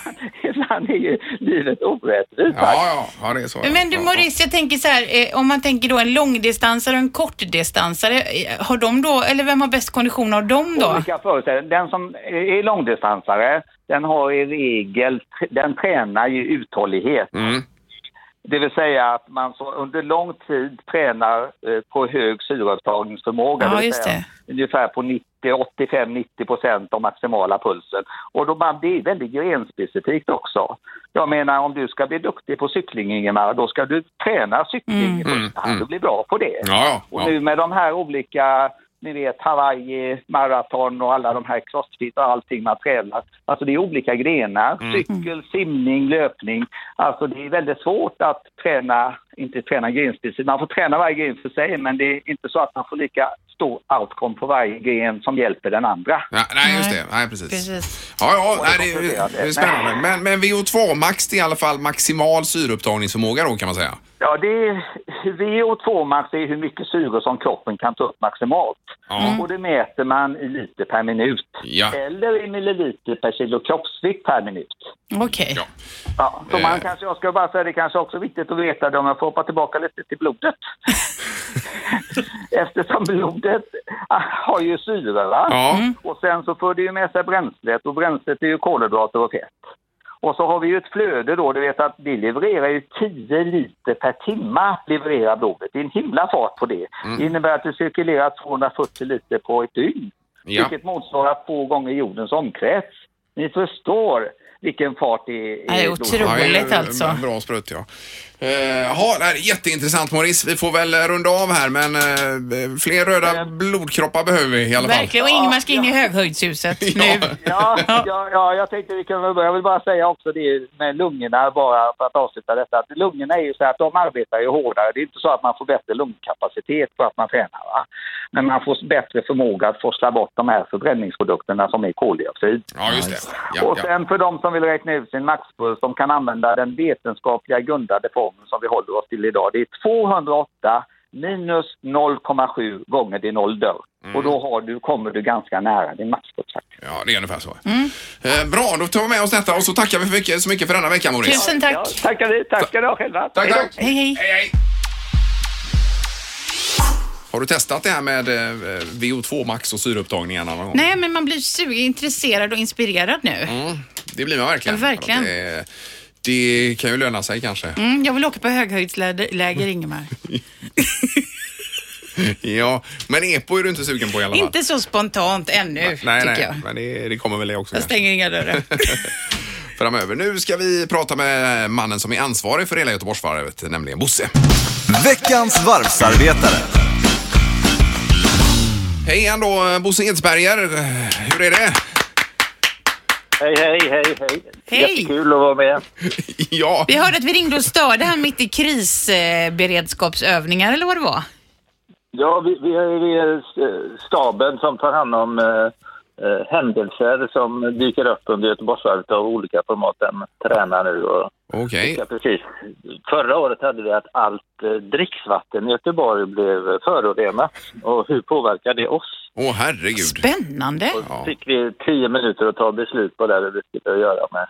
Speaker 6: ibland är ju livet orättvist.
Speaker 2: Ja, ja, ja, det är så. ja.
Speaker 3: Men du
Speaker 2: Ja,
Speaker 3: Maurice, jag tänker så här, eh, om man tänker då en långdistansare och en kortdistansare, eh, har de då, eller vem har bäst kondition av dem då?
Speaker 6: Olika förutsättningar. Den som är långdistansare, den har i regel, den tränar ju uthållighet.
Speaker 2: ja. Mm.
Speaker 6: Det vill säga att man så under lång tid tränar eh, på hög syreupptagningsförmåga.
Speaker 3: Ja,
Speaker 6: vill
Speaker 3: just
Speaker 6: säga Ungefär på 90, 85-90 procent av maximala pulsen. Och då man, det är väldigt grenspecifikt också. Jag menar om du ska bli duktig på cykling Ingemar, då ska du träna cykling
Speaker 3: Mm.
Speaker 6: i första hand. Du blir bra på det.
Speaker 2: Ja,
Speaker 6: Och
Speaker 2: ja. ja.
Speaker 6: nu med de här olika, ni vet Hawaii, maraton och alla de här crossfit och allting man tränar. Alltså det är olika grenar,
Speaker 2: Mm.
Speaker 6: cykel, simning, löpning. Alltså det är väldigt svårt att träna, inte träna grenspecifikt, man får träna varje gren för sig men det är inte så att man får lika stor outcome på varje gren som hjälper den andra.
Speaker 2: Ja, nej, just det. Nej, precis.
Speaker 3: Precis.
Speaker 2: Ja, ja,
Speaker 6: det
Speaker 2: nej, det, är-
Speaker 6: komplicerat.
Speaker 2: det är spännande.
Speaker 6: Nej.
Speaker 2: Men, men VO2 max, det är i alla fall maximal syreupptagningsförmåga då kan man säga.
Speaker 6: Ja, det är VO2 max är hur mycket syre som kroppen kan ta upp maximalt.
Speaker 2: Ja.
Speaker 3: Mm.
Speaker 2: Mm.
Speaker 6: Och det mäter man i liter per minut.
Speaker 2: Ja.
Speaker 6: Eller i milliliter per kilo kroppsvikt per minut.
Speaker 3: Okej.
Speaker 2: Ja.
Speaker 6: Ja, så man
Speaker 2: Eh.
Speaker 6: kanske, jag ska bara säga det kanske också är viktigt att veta det om jag får hoppa tillbaka lite till blodet. Eftersom blodet ah, har ju syre va?
Speaker 2: Ja.
Speaker 6: och sen så för det ju med sig bränslet och bränslet är ju kolhydrater och fett. Och så har vi ju ett flöde då, du vet att vi levererar ju 10 liter per timma levererar blodet. Det är en himla fart på det.
Speaker 2: Mm.
Speaker 6: Det innebär att det cirkulerar 240 liter på ett dygn.
Speaker 2: Ja.
Speaker 6: Vilket motsvarar två gånger jordens omkrets. Ni förstår vilken fart det är. i
Speaker 3: Det är
Speaker 6: blodet.
Speaker 3: otroligt
Speaker 2: Ja, det är ju
Speaker 3: alltså.
Speaker 2: en Bra sprutt ja. Eh, Ja, det här är jätteintressant Maurice. Vi får väl runda av här men eh, fler röda blodkroppar behöver vi i alla fall.
Speaker 3: Verkligen. Och Ingmar ska in i höghöjdshuset nu.
Speaker 6: Ja, ja, ja, jag tänkte vi kunde väl börja. Jag vill bara säga också det med lungorna bara för att avsluta detta. Att lungorna är ju så här att de arbetar ju hårdare. Det är inte så att man får bättre lungkapacitet för att man tränar. Va? Men man får bättre förmåga att forsla bort de här förbränningsprodukterna som är koldioxid.
Speaker 2: Ja, just det. Ja,
Speaker 6: Och
Speaker 2: ja.
Speaker 6: sen för de som vill räkna ut sin maxpuls, de kan använda den vetenskapliga grundade formeln som vi håller oss till idag. Det är 208 minus 0,7 gånger din ålder.
Speaker 2: Mm.
Speaker 6: Och då har du, kommer du ganska nära din maxpuls faktiskt.
Speaker 2: ja, det är ungefär så.
Speaker 3: Mm.
Speaker 2: Eh, Bra, då tar vi med oss detta och så tackar vi för mycket, så mycket för denna vecka Maurice.
Speaker 3: Tusen tack.
Speaker 6: Ja, tackar vi. Tack ska ni ha själva.
Speaker 2: Tack, tack.
Speaker 3: Hej, hej.
Speaker 2: Hej, hej. Har du testat det här med eh, VO2 max och syreupptagningarna någon gång?
Speaker 3: Nej, men man blir sugen, intresserad och inspirerad
Speaker 2: Mm.
Speaker 3: nu.
Speaker 2: Det blir man verkligen.
Speaker 3: Ja, verkligen.
Speaker 2: Det, det kan ju löna sig kanske.
Speaker 3: Mm, jag vill åka på höghöjdsläger, Ingemar.
Speaker 2: Ja, men EPO är du inte sugen på i alla fall.
Speaker 3: Inte så spontant ännu,
Speaker 2: nej,
Speaker 3: tycker
Speaker 2: nej,
Speaker 3: jag.
Speaker 2: men det, det kommer väl det också.
Speaker 3: Jag
Speaker 2: kanske.
Speaker 3: stänger inga dörrar.
Speaker 2: framöver. Nu ska vi prata med mannen som är ansvarig för hela Göteborgsvarvet, nämligen Bosse.
Speaker 1: Veckans varvsarbetare.
Speaker 2: Hej igen då, Bosse Edsberger. Hur är det?
Speaker 6: Hej, hej, hej, hej.
Speaker 3: Hej. Jättekul
Speaker 6: att vara med.
Speaker 2: Ja,
Speaker 3: Vi hörde att vi ringde och störde här mitt i krisberedskapsövningar eller vad det var.
Speaker 6: Ja, vi, vi är vi är staben som tar hand om eh, eh, händelser som dyker upp under Göteborgsvarvet av olika format. Den tränar nu och
Speaker 2: okej.
Speaker 6: Ja, precis. Förra året hade vi att allt eh, dricksvatten i Göteborg blev förorenat. Och hur påverkar det oss?
Speaker 2: Åh, herregud.
Speaker 3: Spännande.
Speaker 2: Ja.
Speaker 6: fick vi tio minuter att ta beslut på det här vi skulle göra med.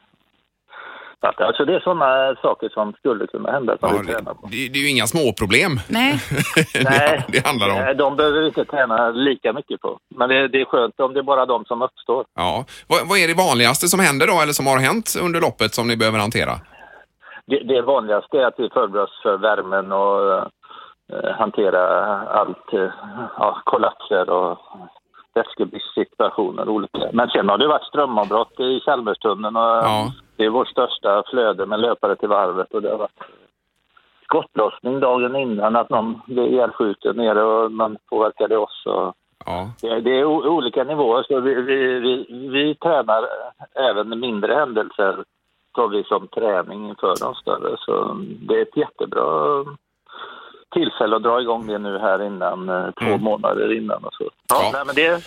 Speaker 6: vatten. Alltså det är sådana saker som skulle kunna hända som
Speaker 2: Ja,
Speaker 6: vi tränar på.
Speaker 2: det, det är ju inga småproblem
Speaker 3: Nej,
Speaker 2: det, det handlar om.
Speaker 6: nej, de behöver vi inte träna lika mycket på. Men det, det är skönt om det är bara de som uppstår.
Speaker 2: Ja. Vad, vad är det vanligaste som händer då, eller som har hänt under loppet som ni behöver hantera?
Speaker 6: Det, det vanligaste är att vi förbereder oss för värmen och eh, hantera allt, eh, ja, kollapser och vätskebristsituationer och olika. Men sen har det varit strömavbrott i Chalmerstunneln och
Speaker 2: Ja.
Speaker 6: det är vårt största flöde med löpare till varvet och det har varit skottlossning dagen innan att någon blev ihjälskjuten nere och man påverkade oss. Och
Speaker 2: Ja.
Speaker 6: det, det är o- olika nivåer så vi, vi, vi, vi tränar även mindre händelser tar vi som träning inför de större. Så det är ett jättebra tillfälle att dra igång det nu här innan, eh, två månader innan och så. Ja,
Speaker 2: Ja.
Speaker 6: Nej, men det,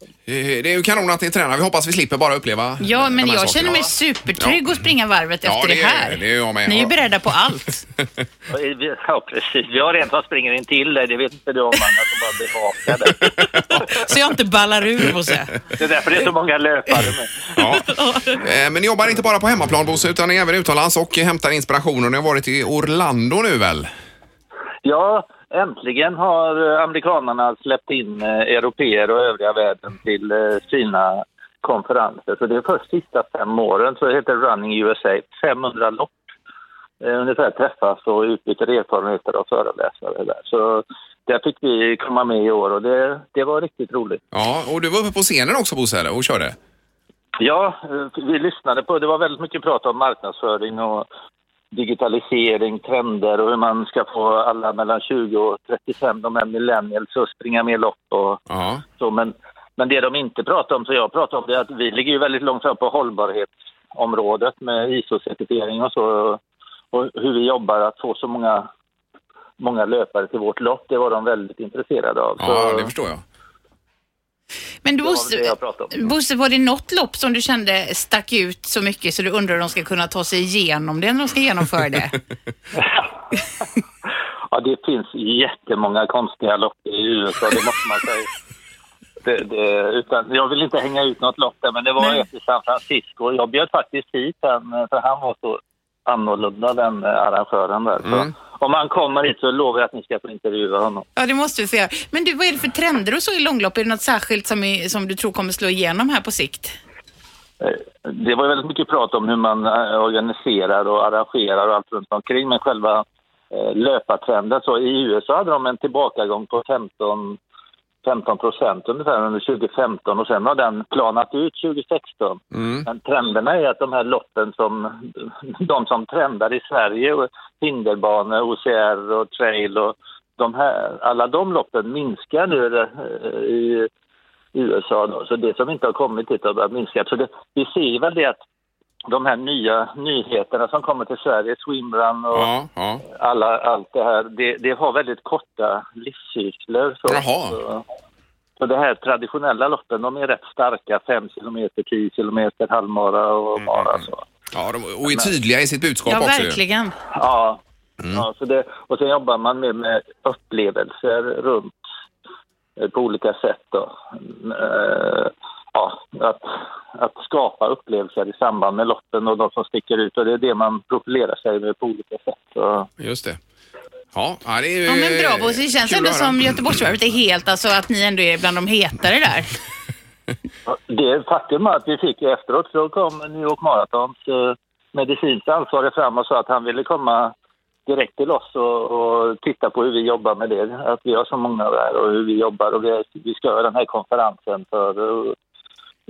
Speaker 2: Eh, Det är ju kanon att ni tränar. Vi hoppas vi slipper bara uppleva eh,
Speaker 3: ja
Speaker 2: de
Speaker 3: men
Speaker 2: här
Speaker 3: jag
Speaker 2: sakerna.
Speaker 3: känner mig supertrygg att springa varvet
Speaker 2: Ja,
Speaker 3: efter
Speaker 2: det
Speaker 3: det,
Speaker 2: är-
Speaker 3: här.
Speaker 2: det är jag med.
Speaker 3: Ni är ju
Speaker 2: Ja.
Speaker 3: beredda på allt.
Speaker 6: vi- ja, precis. Vi har en som springer in till dig, det vet inte du om annat som bara bevakar dig.
Speaker 3: Så jag inte ballar ur, Bosse.
Speaker 6: Det är därför det är så många löpare med.
Speaker 2: Ja. Eh, Men ni jobbar inte bara på hemmaplan Bosse, utan ni är även utomlands och hämtar inspiration. Och ni har varit i Orlando nu väl?
Speaker 6: Ja, äntligen har eh, amerikanarna släppt in eh, europeer och övriga världen till eh, sina konferenser. Så det är först sista fem åren, så det heter Running USA, 500 lopp eh, ungefär träffas och utbyter erfarenheter av föreläsare där. Så där fick vi komma med i år och det, det var riktigt roligt.
Speaker 2: Ja, och du var uppe på scenen också Bosse eller? och körde?
Speaker 6: Ja, eh, vi lyssnade på, det var väldigt mycket prat om marknadsföring och digitalisering, trender och hur man ska få alla mellan 20 och 35, de här millennials, att springa med lopp och
Speaker 2: Ja.
Speaker 6: så. Men, men det de inte pratar om, så jag pratar om, det är att vi ligger ju väldigt långt fram på hållbarhetsområdet med ISO-certifiering och så. Och hur vi jobbar att få så många, många löpare till vårt lopp, det var de väldigt intresserade av.
Speaker 2: Ja,
Speaker 6: så,
Speaker 2: det förstår jag.
Speaker 3: Men du,
Speaker 6: var väl det
Speaker 3: Bosse,
Speaker 6: jag pratade om.
Speaker 3: Bosse, var det något lopp som du kände stack ut så mycket så du undrar hur de ska kunna ta sig igenom det när de ska genomföra det?
Speaker 6: Ja, det finns jättemånga konstiga lopp i USA, det måste man säga. Det, det, utan, jag vill inte hänga ut något lopp där, men det var
Speaker 3: Nej.
Speaker 6: ett i San Francisco. Jag bjöd faktiskt hit den, eh, för han var så annorlunda, den eh, arrangören där. Så, om han kommer hit så lovar jag att ni ska få intervjua honom.
Speaker 3: Ja, det måste vi få göra. Men du, vad är det för trender och så i långlopp? Är det något särskilt som, är, som du tror kommer slå igenom här på sikt?
Speaker 6: Eh, Det var ju väldigt mycket prat om hur man eh, organiserar och arrangerar och allt runt omkring, men själva eh, löpartrenden så i USA hade de en tillbakagång på 15 15 procent ungefär under 2015 och sen har den planat ut 2016. Men trenderna är att de här loppen som de som trendar i Sverige, och hinderbanor, OCR och trail och de här, alla de loppen minskar nu eh, i USA. Då. Så det som inte har kommit dit har börjat minska. Så det, vi ser väl det att de här nya nyheterna som kommer till Sverige, swimrun och
Speaker 2: Ja, ja.
Speaker 6: alla, allt det här, det, det har väldigt korta livscykler. Så,
Speaker 2: Jaha.
Speaker 6: Så, så det här traditionella loppen, de är rätt starka, 5 kilometer, 10 kilometer, halvmara och mara. Så.
Speaker 2: ja de, och är tydliga i sitt budskap
Speaker 3: Ja,
Speaker 2: också. ju.
Speaker 3: verkligen.
Speaker 6: Ja, ja så det, och sen jobbar man med, med upplevelser runt eh, på olika sätt. Då. Mm, eh, Ja, att, att skapa upplevelser i samband med loppen och de som sticker ut och det är det man profilerar sig med på olika sätt. Så.
Speaker 2: Just det. Ja, ja, det är ju...
Speaker 3: Ja, men bra Bosse. Det känns
Speaker 2: kul
Speaker 3: ändå
Speaker 2: att höra.
Speaker 3: som Göteborgsvarvet är helt, alltså att ni ändå är bland de hetare där.
Speaker 6: Det är faktum att vi fick ju efteråt så kom New York Marathons eh, medicinskt ansvarig fram och sa att han ville komma direkt till oss och, och titta på hur vi jobbar med det. Att vi har så många där och hur vi jobbar och vi, vi ska göra den här konferensen för, eh,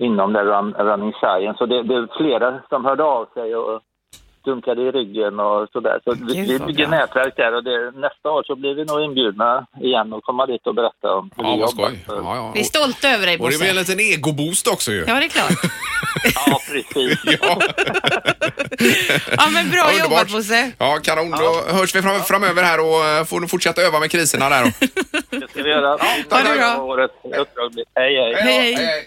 Speaker 6: inom det run, Running Science. Så det, det är flera som hörde av sig och dunkade i ryggen och sådär. Så vi,
Speaker 3: Gud,
Speaker 6: vi
Speaker 3: vad
Speaker 6: bygger
Speaker 3: bra.
Speaker 6: nätverk där och det, nästa år så blir vi nog inbjudna igen och komma dit och berätta om hur
Speaker 2: Ja,
Speaker 6: vi
Speaker 2: vad
Speaker 6: jobbar.
Speaker 2: skoj. Ja, ja.
Speaker 3: Vi är stolta över dig
Speaker 2: Och det blir en
Speaker 3: Bosse.
Speaker 2: liten egoboost också ju.
Speaker 3: Ja, det är klart.
Speaker 6: Ja, precis.
Speaker 2: Ja.
Speaker 3: Ja, men bra
Speaker 2: Underbart.
Speaker 3: jobbat Bosse.
Speaker 2: Ja, kanon. Då hörs vi fram, framöver här och eh, får fortsätta öva med kriserna där. då.
Speaker 6: Det ska vi göra. Ja,
Speaker 3: tack. Ha det bra.
Speaker 6: Årets uppdrag blir- Hej, hej.
Speaker 2: Ja,
Speaker 3: hej.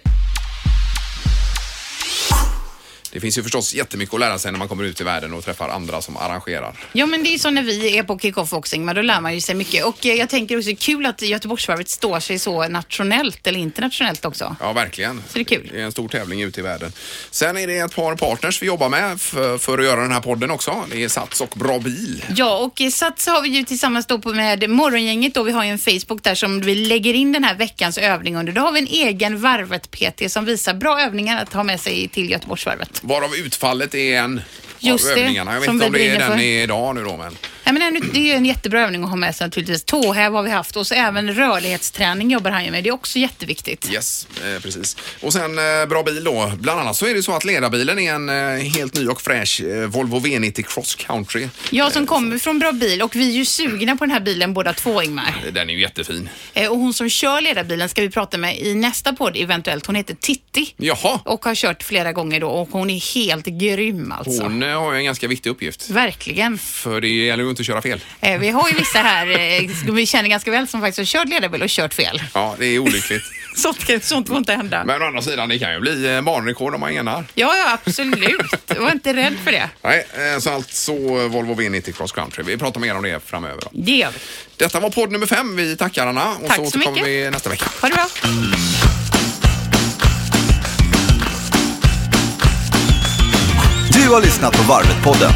Speaker 2: Det finns ju förstås jättemycket att lära sig när man kommer ut i världen och träffar andra som arrangerar.
Speaker 3: Ja, men det är så när vi är på kick-off boxing, men då lär man ju sig mycket. Och eh, jag tänker också, kul att Göteborgsvarvet står sig så nationellt eller internationellt också.
Speaker 2: Ja, verkligen.
Speaker 3: Så det är kul.
Speaker 2: Det är en stor tävling ute i världen. Sen är det ett par partners vi jobbar med för, för att göra den här podden också. Det är Sats och Bra Bil.
Speaker 3: Ja, och eh, i Sats har vi ju tillsammans då på med Morgongänget då. Vi har ju en Facebook där som vi lägger in den här veckans övning under. Då har vi en egen Varvet-PT som visar bra övningar att ha med sig till Göteborgsvarvet.
Speaker 2: Varav utfallet är en
Speaker 3: Just
Speaker 2: av
Speaker 3: det,
Speaker 2: övningarna. Jag vet
Speaker 3: som
Speaker 2: inte
Speaker 3: vi
Speaker 2: om det är
Speaker 3: brinner
Speaker 2: den
Speaker 3: för.
Speaker 2: är idag nu då, men
Speaker 3: Ja, men en- det är ju en jättebra övning att ha med sig naturligtvis. Tåhäv har vi haft och så även rörlighetsträning jobbar han ju med. Det är också jätteviktigt.
Speaker 2: yes, eh, precis. Och sen eh, Bra Bil då. Bland annat så är det så att ledarbilen är en eh, helt ny och fräsch eh, Volvo V90 Cross Country.
Speaker 3: Jag som kommer från Bra bil och vi är ju sugna på den här bilen båda två Ingmar.
Speaker 2: Den är ju jättefin.
Speaker 3: Eh, Och hon som kör ledarbilen ska vi prata med i nästa podd eventuellt. Hon heter Titti.
Speaker 2: Jaha,
Speaker 3: Och har kört flera gånger då och hon är helt grym alltså.
Speaker 2: hon eh, har ju en ganska viktig uppgift.
Speaker 3: Verkligen.
Speaker 2: För det gäller ju inte att köra fel.
Speaker 3: Eh, Vi har ju vissa här eh, som vi känner ganska väl som faktiskt har kört ledarbil och kört fel.
Speaker 2: Ja, det är olyckligt.
Speaker 3: Sånt, kan- sånt får inte hända.
Speaker 2: Men å andra sidan, det kan ju bli eh, banrekord om man enar.
Speaker 3: Ja, ja, absolut. Var inte rädd för det.
Speaker 2: Nej, eh, så alltså Volvo V90 Cross Country. Vi pratar mer om det framöver. Då.
Speaker 3: Det gör vi.
Speaker 2: Detta var podd nummer fem. Vi tackar Anna och
Speaker 3: Tack
Speaker 2: så
Speaker 3: så
Speaker 2: återkommer
Speaker 3: mycket.
Speaker 2: vi nästa vecka.
Speaker 3: Ha det bra.
Speaker 1: Du har lyssnat på Varvet-podden.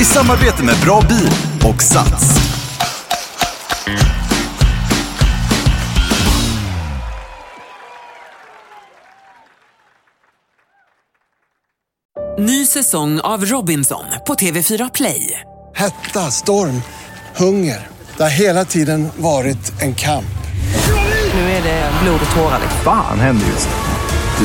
Speaker 1: I samarbete med Bra Bil och Sats.
Speaker 7: Ny säsong av Robinson på TV4 Play.
Speaker 8: Hetta, storm, hunger. Det har hela tiden varit en kamp.
Speaker 7: Nu är det blod och tårar.
Speaker 9: Fan händer just det.